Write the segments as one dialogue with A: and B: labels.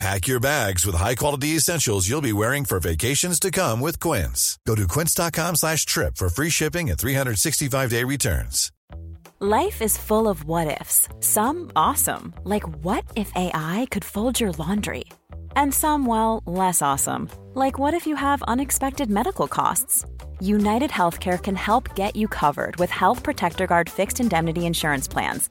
A: Pack your bags with high-quality essentials you'll be wearing for vacations to come with Quince. Go to quince.com slash trip for free shipping and 365-day returns.
B: Life is full of what ifs. Some awesome, like what if AI could fold your laundry? And some, well, less awesome, like what if you have unexpected medical costs? United Healthcare can help get you covered with Health Protector Guard fixed indemnity insurance plans.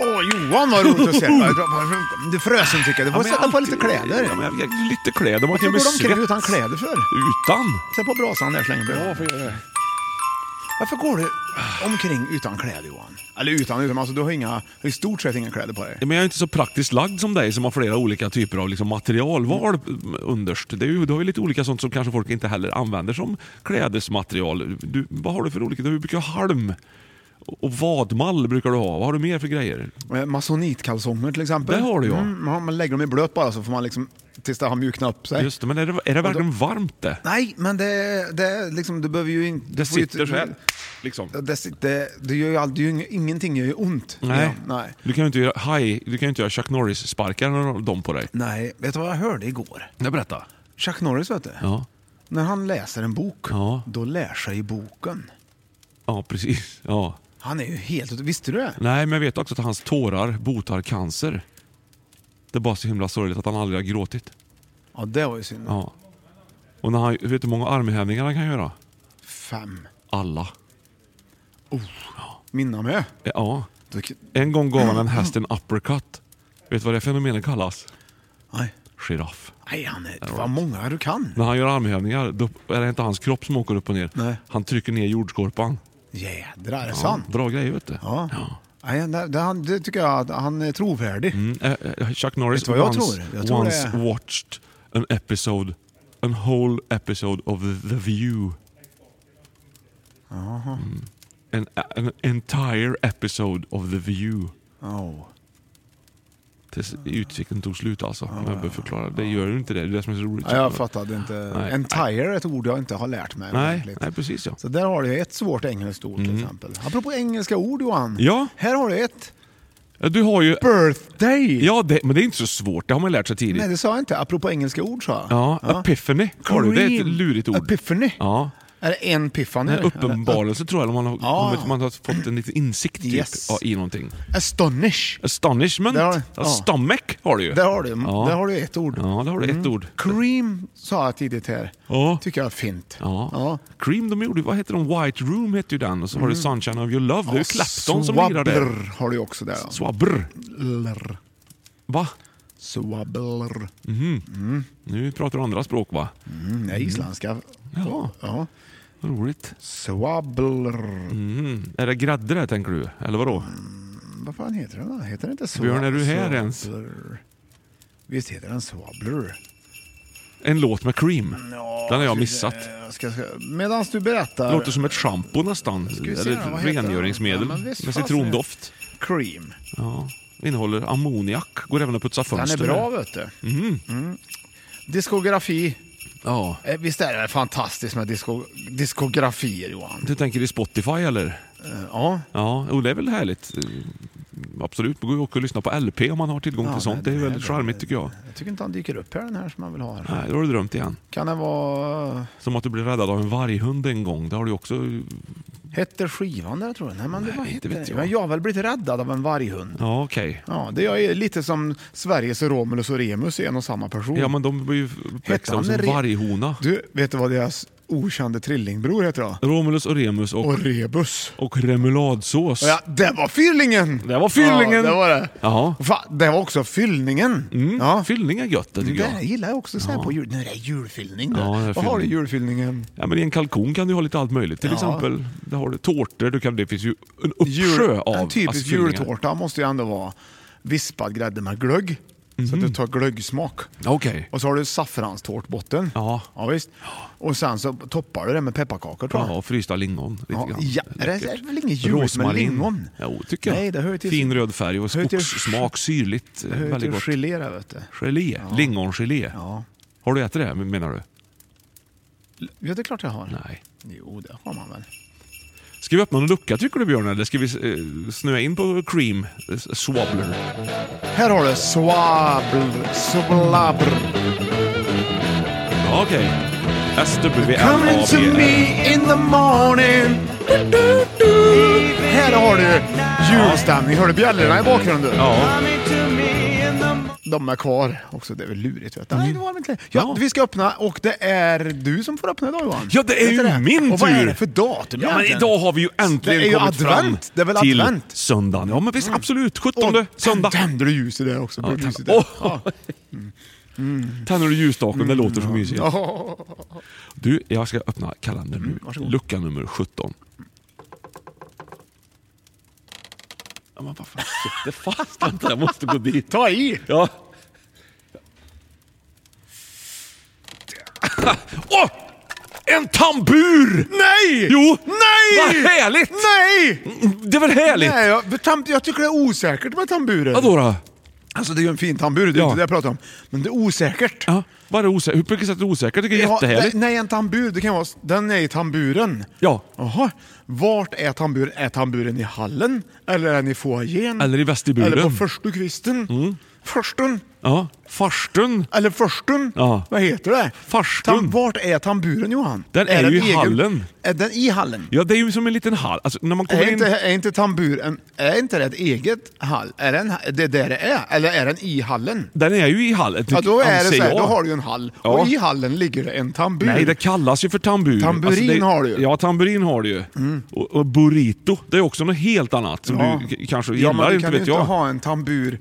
C: Åh, Johan vad roligt att se dig. Du frös en tycker jag. Du får
D: men jag
C: sätta på lite
D: alltid-
C: kläder.
D: Ja, men jag, jag, lite kläder. Man
C: Varför
D: kan
C: går
D: bli
C: de omkring
D: svett
C: utan kläder för?
D: utan.
C: Sätt på brasan där så länge.
D: Ja,
C: Bra.
D: får jag göra det.
C: Varför går du omkring utan kläder Johan? Eller utan, utan alltså du har, inga, har i stort sett inga kläder på dig.
D: Ja, Men jag är inte så praktiskt lagd som dig som har flera olika typer av liksom,
C: Mm.
D: materialval underst. Det är ju, du har ju lite olika sånt som kanske folk inte heller använder som klädesmaterial. Du, vad har du för olika? Du brukar ha halm och vadmall brukar du ha. Vad har du mer för grejer?
C: Eh, Masonitkalsonger till exempel.
D: Det har du, ja.
C: Mm, man man lägger dem i blöt bara så får man liksom tills det har mjuknat upp sig.
D: Just det, men är det, är det verkligen varmt det?
C: Nej, men det, det liksom, du behöver ju inte...
D: Det
C: du får ju
D: sitter
C: inte-
D: så här. Liksom.
C: Ja, Det, sitter, det gör ju aldrig, det gör ju- ingenting gör ju ont.
D: Nej.
C: Ja, Nej.
D: Du kan ju inte göra, haj, du kan ju inte göra Chuck Norris-sparkar när du har dem på dig.
C: Nej, vet du vad jag hörde igår?
D: Nej, berätta.
C: Chuck Norris vet du.
D: Ja,
C: När han läser en bok,
D: Ja.
C: då lär sig boken.
D: ja precis. Ja.
C: Han är ju helt... Visste du det?
D: Nej, men jag vet också att hans tårar botar cancer. Det är bara så himla sorgligt att han aldrig har gråtit.
C: Ja, det var ju synd.
D: Ja. Och när han, vet du hur många armhävningar han kan göra?
C: Fem.
D: Alla.
C: Minna med.
D: Eh, Ja.
C: Du,
D: En gång gav han en häst en uppercut. Vet du vad det fenomenet kallas?
C: nej.
D: Giraff.
C: Nej, han är... Vad många du kan.
D: När han gör armhävningar då är det inte hans kropp som åker upp och ner.
C: Nej.
D: Han trycker ner jordskorpan.
C: Jädrar, är det sant?
D: Bra grej vet du.
C: Ja. Nej, det, det, han, det tycker jag, att han är trovärdig.
D: Mm, eh, eh, Chuck Norris
C: Vet du vad jag
D: once,
C: tror? Jag tror
D: once
C: det-
D: watched an episode, an whole episode of The View. An, an entire episode of The View.
C: Oh.
D: Tills utsikten tog slut alltså. Om jag behöver förklara. Det gör ju inte det. Det är det som är så roligt.
C: Ja, jag fattade inte.
D: Nej.
C: Entire är ett ord jag inte har lärt mig.
D: Nej,
C: ordentligt.
D: nej, precis ja.
C: Så där har du ett svårt engelskt ord till exempel. Apropå engelska ord Johan.
D: Ja.
C: Här har du ett.
D: Ja, Du har ju...
C: Birthday!
D: Ja, det, men det är inte så svårt. Det har man lärt sig tidigt.
C: Nej, det sa jag inte. Apropå engelska ord sa jag.
D: Ja, epiphany. Har du? Det är ett
C: Cream.
D: lurigt ord.
C: Epiphany?
D: Ja.
C: Är det en piffan?
D: En uppenbarelse tror jag, eller man har,
C: Ja.
D: kommit- man har fått en liten insikt typ,
C: Yes.
D: ja, i någonting.
C: Astonish.
D: Astonishment.
C: Där har-
D: ja.
C: ja.
D: Stomach har du ju.
C: Där har du,
D: Ja.
C: där har du Mm. ett ord.
D: Ja, där har du ett ord.
C: Cream sa jag tidigt här.
D: Ja.
C: Tycker jag är fint.
D: Ja. Cream, de gjorde, vad heter de? White Room hette ju den. Och så har du
C: Mm.
D: Sunshine of Your Love. Det är ju Clapton som lirar där.
C: Swabbler har du också där. ja.
D: Swabbr.
C: Swabbler.
D: Va?
C: Swabbler.
D: Mm. Nu pratar du andra språk va?
C: Mm, det är isländska.
D: Ja,
C: Ja.
D: roligt.
C: Swabbler.
D: Mm. Är det grädde där tänker du? Eller vadå?
C: Vad fan heter den då? Heter den inte Swab-
D: Björn, är du här ens?
C: Swabbler? Visst heter den Swabbler?
D: En låt med Cream. Den har jag missat.
C: Eh, Ska, ska, Medan du berättar.
D: Låter som ett schampo nästan.
C: vi se då,
D: Eller
C: vad heter
D: rengöringsmedel
C: den? Ja, men visst
D: med
C: fasen.
D: citrondoft.
C: Cream.
D: Ja. Innehåller ammoniak. Går även att putsa
C: Den är
D: fönster
C: bra
D: med.
C: vet du. Mm. Diskografi.
D: Ja.
C: Eh, Visst är det fantastiskt med disco, diskografier Johan?
D: Du tänker i Spotify eller?
C: Eh, Ja.
D: Ja, och det är väl härligt. Eh, Absolut, det går ju också att lyssna på LP om man har tillgång
C: Ja,
D: till sånt. Det är väldigt charmigt tycker jag.
C: Jag tycker inte han dyker upp här den här som man vill ha. Här.
D: Nej, då har du drömt igen.
C: Kan det vara... eh,
D: Som att du blev räddad av en varghund en gång. Det har du ju också...
C: Hette skivan där tror jag? Nej, men det var
D: inte
C: hette
D: vet
C: det.
D: jag.
C: Men jag har väl blivit räddad av en varghund.
D: Ja, okej.
C: Ja, det är lite som Sveriges Romulus och Remus är en och samma person.
D: Ja, men de blir ju
C: Hette
D: uppväxta
C: han
D: som
C: Re-
D: varghona.
C: Du, vet du vad deras okände trillingbror heter då?
D: Romulus och Remus och,
C: Och Rebus.
D: och remouladsås.
C: Ja, det var fyllningen!
D: Det var fyllningen!
C: Ja, det var det.
D: Ja. Mm.
C: Va, det var också fyllningen. Ja.
D: Fyllning är gött det tycker
C: Det
D: jag.
C: gillar jag också så här på jul. Nu är det julfyllning.
D: Ja, det är
C: Ja, Vad har du i
D: fyllning.
C: julfyllningen?
D: Ja, men I en kalkon kan du ha lite allt möjligt. Till
C: Ja.
D: exempel där har du tårtor, du kan, det finns ju en uppsjö av
C: en typisk
D: alltså, fyllningar.
C: jultårta måste ju ändå vara vispad grädde med glögg. Så
D: Mhm.
C: att du tar glöggsmak.
D: Okej.
C: Och så har du saffranstårtbotten.
D: Ja.
C: ja visst. Och sen så toppar du det med pepparkakor tror jag.
D: Ja, och frysta lingon. Lite
C: Ja,
D: grann.
C: ja, det är
D: Läckert.
C: väl inget juligt med
D: Rosmarin.
C: lingon?
D: Jo, tycker jag.
C: Nej, det hör ju till-
D: fin röd färg och
C: hör ju till-
D: skogssmak, syrligt.
C: Det hör ju
D: Väldigt
C: till
D: gott.
C: att gelé det, vet du.
D: Gelé, lingongelé.
C: Ja.
D: Har du ätit det menar du?
C: ja, det är klart jag har.
D: Nej.
C: Jo, det har man väl.
D: Ska vi öppna någon lucka tycker du Björn eller ska vi eh, snöa in på cream eh, swabbler?
C: Här har du swabl, swablabr.
D: Ja, Okej.
C: Coming to
D: SWMABL.
C: me in the morning. Du, du, du. Här har du julstämning. Hör du bjällrorna i bakgrunden?
D: Ja,
C: De är kvar också. Det är väl lurigt vet du. Nej, det var det inte. Ja,
D: Ja.
C: Vi ska öppna och det är du som får öppna idag Johan.
D: Ja, det är
C: Vet du
D: ju min
C: Och vad är
D: tur.
C: det för datum
D: Ja, men
C: egentligen?
D: idag har vi ju äntligen
C: Det är ju
D: kommit fram
C: advent. Det är väl
D: till
C: advent. Mm.
D: söndagen. Ja men visst, absolut. 17
C: Oj,
D: söndag.
C: Tänder du ljus i det också?
D: Ja,
C: Blir det ljus i det?
D: tänd-
C: Ja. Mm.
D: Åh! Tänder du ljusstaken? Det låter så mysigt.
C: Ja. Mm,
D: Du, jag ska öppna kalendern nu.
C: varsågod.
D: Lucka nummer 17. Ja, men vad fan sitter fast? Vänta, jag måste gå dit.
C: Ta i!
D: Ja. Åh! En tambur!
C: Nej!
D: Jo!
C: Nej!
D: Vad härligt!
C: Nej!
D: Det är väl härligt?
C: Nej, jag, tam, jag tycker det är osäkert med tamburen.
D: Vadå då?
C: Alltså det är ju en fin tambur, det är
D: Ja.
C: inte det jag pratar om. Men det är osäkert.
D: Ja, vad är det osäkert? På vilket sätt är det osäkert? Jag tycker det är
C: Ja,
D: jättehärligt.
C: nej, en tambur, det kan vara... Den är i tamburen.
D: Ja.
C: Jaha. Vart är tamburen? Är tamburen i hallen? Eller är den i foajén?
D: Eller i vestibulen.
C: Eller på förstukvisten? Mm. Förstun?
D: Ja. Farstun.
C: Eller förstun?
D: Ja.
C: Vad heter det?
D: Farstun.
C: vart är tamburen Johan?
D: Den är ju i hallen.
C: Är den i hallen?
D: Ja, det är ju som en liten hall. Alltså, när man kommer
C: Är
D: in...
C: inte, är inte tamburen, är inte det ett eget hall? Är den, det är där det är? Eller är den i hallen?
D: Den är ju i hallen,
C: Ja, då är det
D: anser
C: så här, då
D: jag.
C: har du ju en hall.
D: Ja.
C: Och i hallen ligger det en tambur.
D: Nej, det kallas ju för tambur.
C: Tamburin
D: det,
C: har du ju. Mm.
D: Ja, tamburin har du ju. Och, och burrito, det är också något helt annat som
C: Ja.
D: du k- kanske
C: ja,
D: gillar,
C: men du
D: inte
C: kan ju
D: vet
C: inte
D: jag.
C: ha en tambur.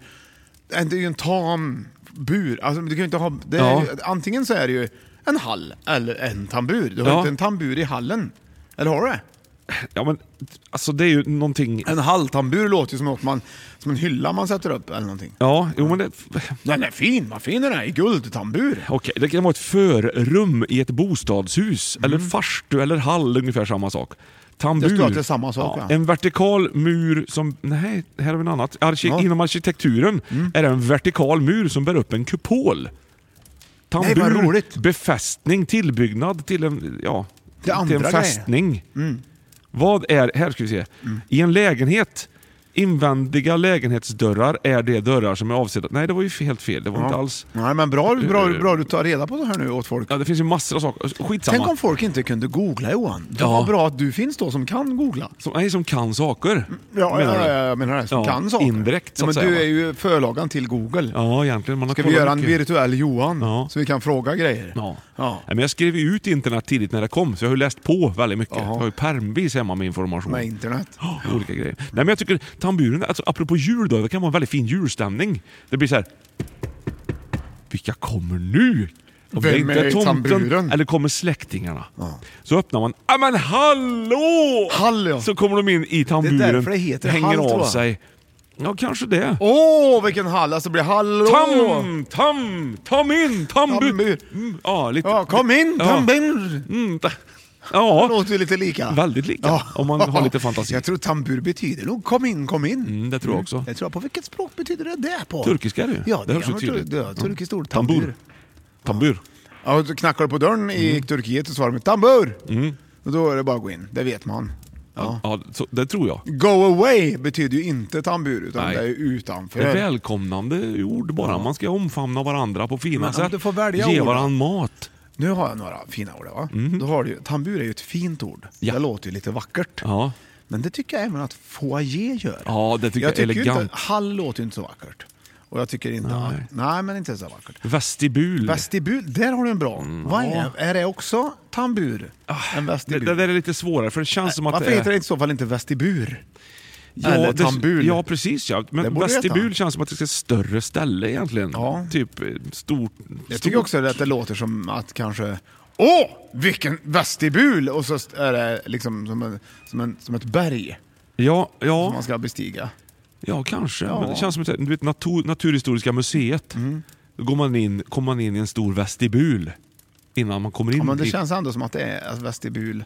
C: Nej, Det är ju en tambur. Alltså, du kan ju inte ha, det är
D: Ja.
C: ju, antingen så är det ju en hall eller en tambur. Du har
D: Ja.
C: inte en tambur i hallen. Eller har du det?
D: Ja, men alltså det är ju någonting...
C: En halltambur låter ju som, något man, som en hylla man sätter upp eller någonting.
D: Ja, jo men det...
C: Den är fin, vad fin den är i guldtambur.
D: Okej, det kan vara ett förrum i ett bostadshus.
C: Mm.
D: Eller farstu eller hall, ungefär samma sak. Tambur.
C: Det står att det är samma sak, ja.
D: En vertikal mur som... Nej, här har vi något annat. Arki-
C: Ja. Mm.
D: Inom arkitekturen är det en vertikal mur som bär upp en kupol. Tambur,
C: Nej, vad roligt.
D: befästning, tillbyggnad till en, ja,
C: Det
D: till en
C: andra Mm. grejer.
D: fästning. Vad är... Här ska vi se.
C: Mm.
D: I en lägenhet. Invändiga lägenhetsdörrar är de dörrar som är avsedda... Nej, det var ju helt fel. Det var inte alls...
C: Nej men bra, bra, bra du tar reda på det här nu åt folk.
D: Eh. Ja, det finns ju massor av saker. Skitsamma.
C: Tänk om folk inte kunde googla Johan. Det
D: Ja.
C: var bra att du finns då som kan googla.
D: Som, nej, som kan saker.
C: Ja,
D: menar
C: ja,
D: du?
C: ja, jag menar det. Som
D: Ja,
C: kan saker.
D: indirekt, så
C: ja,
D: att
C: men
D: säga,
C: Du
D: va?
C: är ju förlagan till Google.
D: Ja, egentligen. Man har
C: Ska vi
D: kollat
C: göra en
D: mycket.
C: virtuell Johan
D: Ja.
C: så vi kan fråga grejer?
D: Ja.
C: Ja.
D: Nej, men jag skrev ju ut internet tidigt när det kom, så jag har ju läst på väldigt mycket.
C: Jaha.
D: Jag har ju pärmvis hemma med information.
C: Med internet.
D: Ja, med olika grejer. Nej, men jag tycker tamburen, alltså, apropå jul då, det kan vara en väldigt fin julstämning. Det blir så här. Vilka kommer nu? Om
C: Vem är i tamburen?
D: eller kommer släktingarna? Så öppnar man. Ja men hallå!
C: Hall, ja.
D: Så kommer de in i tamburen,
C: därför det heter
D: hänger
C: hall, tror
D: av
C: jag.
D: sig. Ja, kanske det.
C: Åh, vilken hall! Alltså det blir hallå!
D: Tam, tam, tam in, tambu.
C: Tambur.
D: Mm, ja, lite.
C: Ja, kom in!
D: Ja.
C: Tambur!
D: Mm, ta,
C: Det
D: ja,
C: låter ju lite lika.
D: Väldigt lika, om man har lite fantasi.
C: Jag tror tambur betyder nog kom in, kom in.
D: Mm, det tror jag också.
C: Det tror jag. På vilket språk betyder det där på?
D: Turkiska är det ju.
C: Ja,
D: Det
C: det,
D: hörs ju
C: kan vara tur-
D: tydligt.
C: det är turkiskt ord.
D: Tambur.
C: Tambur.
D: tambur.
C: Ja, och så knackar du på dörren i
D: Mm.
C: Turkiet så svarar de ”Tambur”. Och då är det bara att gå in, det vet man.
D: Ja. så, det tror jag.
C: Go away betyder ju inte tambur, utan
D: Nej.
C: det är
D: Det är
C: utanför.
D: välkomnande ord bara. Man ska omfamna varandra på fina
C: Men om
D: sätt.
C: du får välja
D: Ge
C: ord.
D: varandra mat.
C: Nu har jag några fina ord. Va? Då har du, ju- tambur är ju ett fint ord.
D: Mhm. Ja.
C: Det låter ju lite vackert.
D: Ja.
C: Men det tycker jag även att foyer gör.
D: Ja, det tycker jag är
C: tycker ju
D: elegant.
C: Inte, hall låter ju inte så vackert. Och jag tycker inte
D: Nej.
C: att... Nej, men inte så vackert.
D: Vestibul.
C: Vestibul, där har du en bra. Vad är, är det också tambur? en
D: Mm, Ah, det,
C: vestibul?
D: det där är lite svårare för det känns som att
C: Varför
D: det är...
C: heter det i så fall inte vestibur?
D: Ja,
C: Eller
D: det-
C: tambul.
D: Ja, precis. Ja.
C: Det
D: Men
C: borde det heta.
D: vestibul känns som att det är ett större ställe egentligen.
C: Ja.
D: Typ eh, stort.
C: Jag
D: stort-
C: tycker också att det låter som att kanske Åh, vilken vestibul! Och så är det liksom som, en, som, en, som ett berg
D: Ja,
C: som
D: ja,
C: man ska bestiga.
D: ja kanske.
C: Ja. Mm.
D: Men det känns som ett, du vet, natur, Naturhistoriska museet. Då går man in, kommer man in i en stor vestibul innan man kommer in
C: Ja, men det
D: i...
C: känns ändå som att det är alltså, vestibul.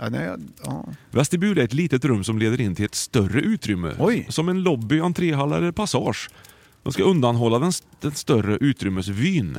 C: Ja, nej, jag- ja.
D: Vestibul är ett litet rum som leder in till ett större utrymme.
C: Oj.
D: Som en lobby, entréhall eller passage. De ska undanhålla den, den större utrymmesvyn.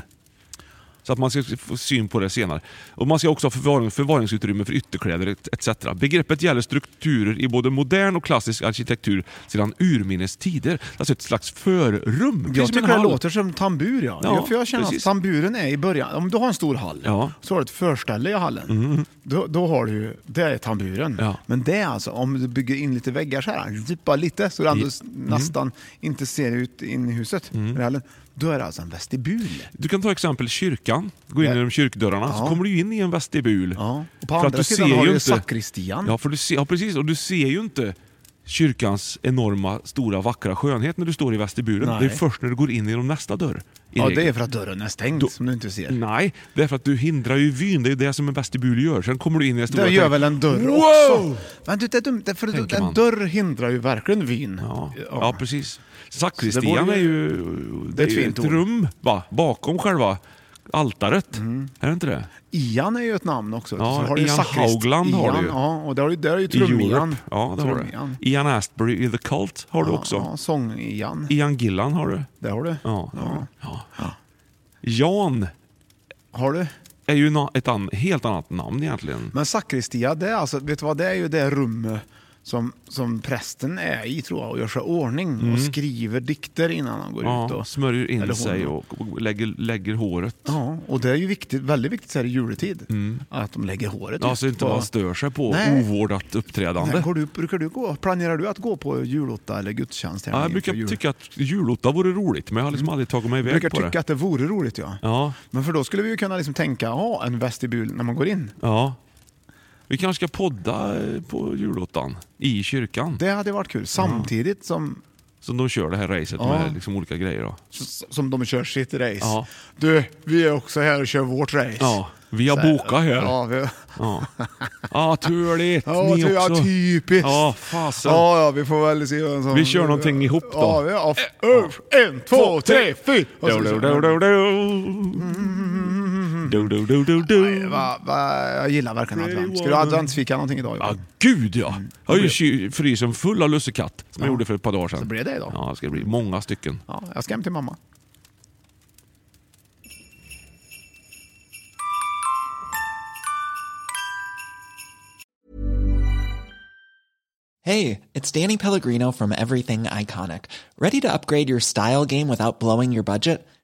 D: Så att man ska få syn på det senare. Och Man ska också ha förvaring, förvaringsutrymme för ytterkläder et- etc. Begreppet gäller strukturer i både modern och klassisk arkitektur sedan urminnes tider. Alltså ett slags förrum. precis
C: Jag
D: som en
C: tycker det
D: hall.
C: låter som tambur ja.
D: Ja,
C: Jo, för jag känner
D: precis.
C: att tamburen är i början. Om du har en stor hall,
D: Ja. Mm.
C: så har du ett förställe i hallen. Då, då har du ju, det är tamburen.
D: Ja.
C: Men det är alltså, om du bygger in lite väggar så här, djupa lite, så du ändå
D: mm.
C: s- nästan inte ser ut in i huset, i hallen, då är det alltså en vestibul.
D: Du kan ta exempel kyrkan. Gå in
C: Ja.
D: genom kyrkdörrarna så kommer du ju in i en vestibul.
C: Ja. Och på
D: För att
C: andra
D: du
C: sidan
D: ser
C: har
D: ju
C: du
D: inte-
C: sakristian.
D: Ja, för du ser, ja, precis. Och du ser ju inte kyrkans enorma, stora, vackra skönhet när du står i vestibulen.
C: Nej.
D: Det är först när du går in genom nästa dörr. i
C: Ja,
D: regel.
C: det är för att dörren är stängd som du inte ser.
D: Nej, det är för att du hindrar ju vyn. Det är ju det som en vestibul gör. Sen kommer du in i den stora...
C: Det gör väl en dörr
D: Wow!
C: också? Men du, det är dumt, det är för att
D: Tänker
C: en
D: man.
C: dörr hindrar ju verkligen vyn.
D: Ja, ja precis.
C: Så det
D: Sakristian
C: borde
D: är ju... Det är
C: ett
D: ju
C: fint
D: ett
C: ord.
D: rum va? bakom själva altaret.
C: Mm.
D: Är det inte det?
C: Ian är ju ett namn också.
D: Ja,
C: Så har du ju
D: Ian
C: sakrist-
D: Haugland har
C: Ian,
D: du ju.
C: Ja, och där har du, där har du ju
D: I
C: Trum-Ian.
D: Europe. Ja, det har
C: Trum-Ian.
D: du. Ian Astbury i The Cult har du
C: Ja,
D: också.
C: Ja, Sång-Ian.
D: Ian Gillan har du.
C: Där har du.
D: Ja, ja. ja. Jan
C: Har du?
D: är ju na- ett an- helt annat namn egentligen.
C: Men sakristia, det är alltså, vet du vad, det är ju det rummet som, som prästen är i tror jag och gör sig i ordning och skriver dikter innan han går ut.
D: Mm. Ja,
C: Och,
D: smörjer
C: eller
D: in
C: hon
D: sig
C: då.
D: och, och lägger, lägger håret.
C: Ja, och det är ju viktigt, väldigt viktigt så här i juletid att de lägger håret
D: Mm. Ja,
C: just
D: så Alltså inte
C: på-
D: man stör sig på
C: Typ Nej.
D: ovårdat uppträdande.
C: Nej, går du, brukar du gå, planerar du att gå på julotta eller gudstjänst? här
D: Ja, jag
C: inför
D: brukar
C: jul?
D: tycka att julotta vore roligt, men jag har liksom aldrig tagit mig
C: Jag
D: iväg
C: brukar
D: på
C: tycka
D: det.
C: att det vore roligt ja.
D: Ja,
C: Men för då skulle vi ju kunna liksom tänka, ja, en vestibul när man går in.
D: ja. Vi kanske ska podda eh, på julottan i kyrkan.
C: Det hade varit kul. Samtidigt som,
D: Som de kör det här racet
C: Ja.
D: med liksom olika grejer. Då.
C: som de kör sitt race.
D: Ja.
C: Du, vi är också här och kör vårt race.
D: Ja, vi har bokat här.
C: Ja, vi...
D: Ja, ja turligt.
C: Ja,
D: ni
C: ty, ja,
D: också.
C: typiskt.
D: Ja, fasen.
C: Ja, ja, vi får väl se vem som...
D: Vi kör någonting ihop då.
C: Ja, vi, ja. f- En, två, tre, fyra! Och så-
D: Do, do, do, do, do. Do, do, do, do, do.
C: Mm. Va, va, jag gillar verkligen advent. Ska du
D: woman.
C: adventsfika någonting idag?
D: Ja,
C: Johan?
D: gud ja! Jag har ju ky- frysen full av lussekatt som jag gjorde för ett par dagar sedan.
C: Mm. Så blir det idag.
D: Ja, det ska bli många stycken.
C: Ja, jag ska hem till mamma.
E: Hey, it's Danny Pellegrino from Everything Iconic. Ready to upgrade your style game without blowing your budget?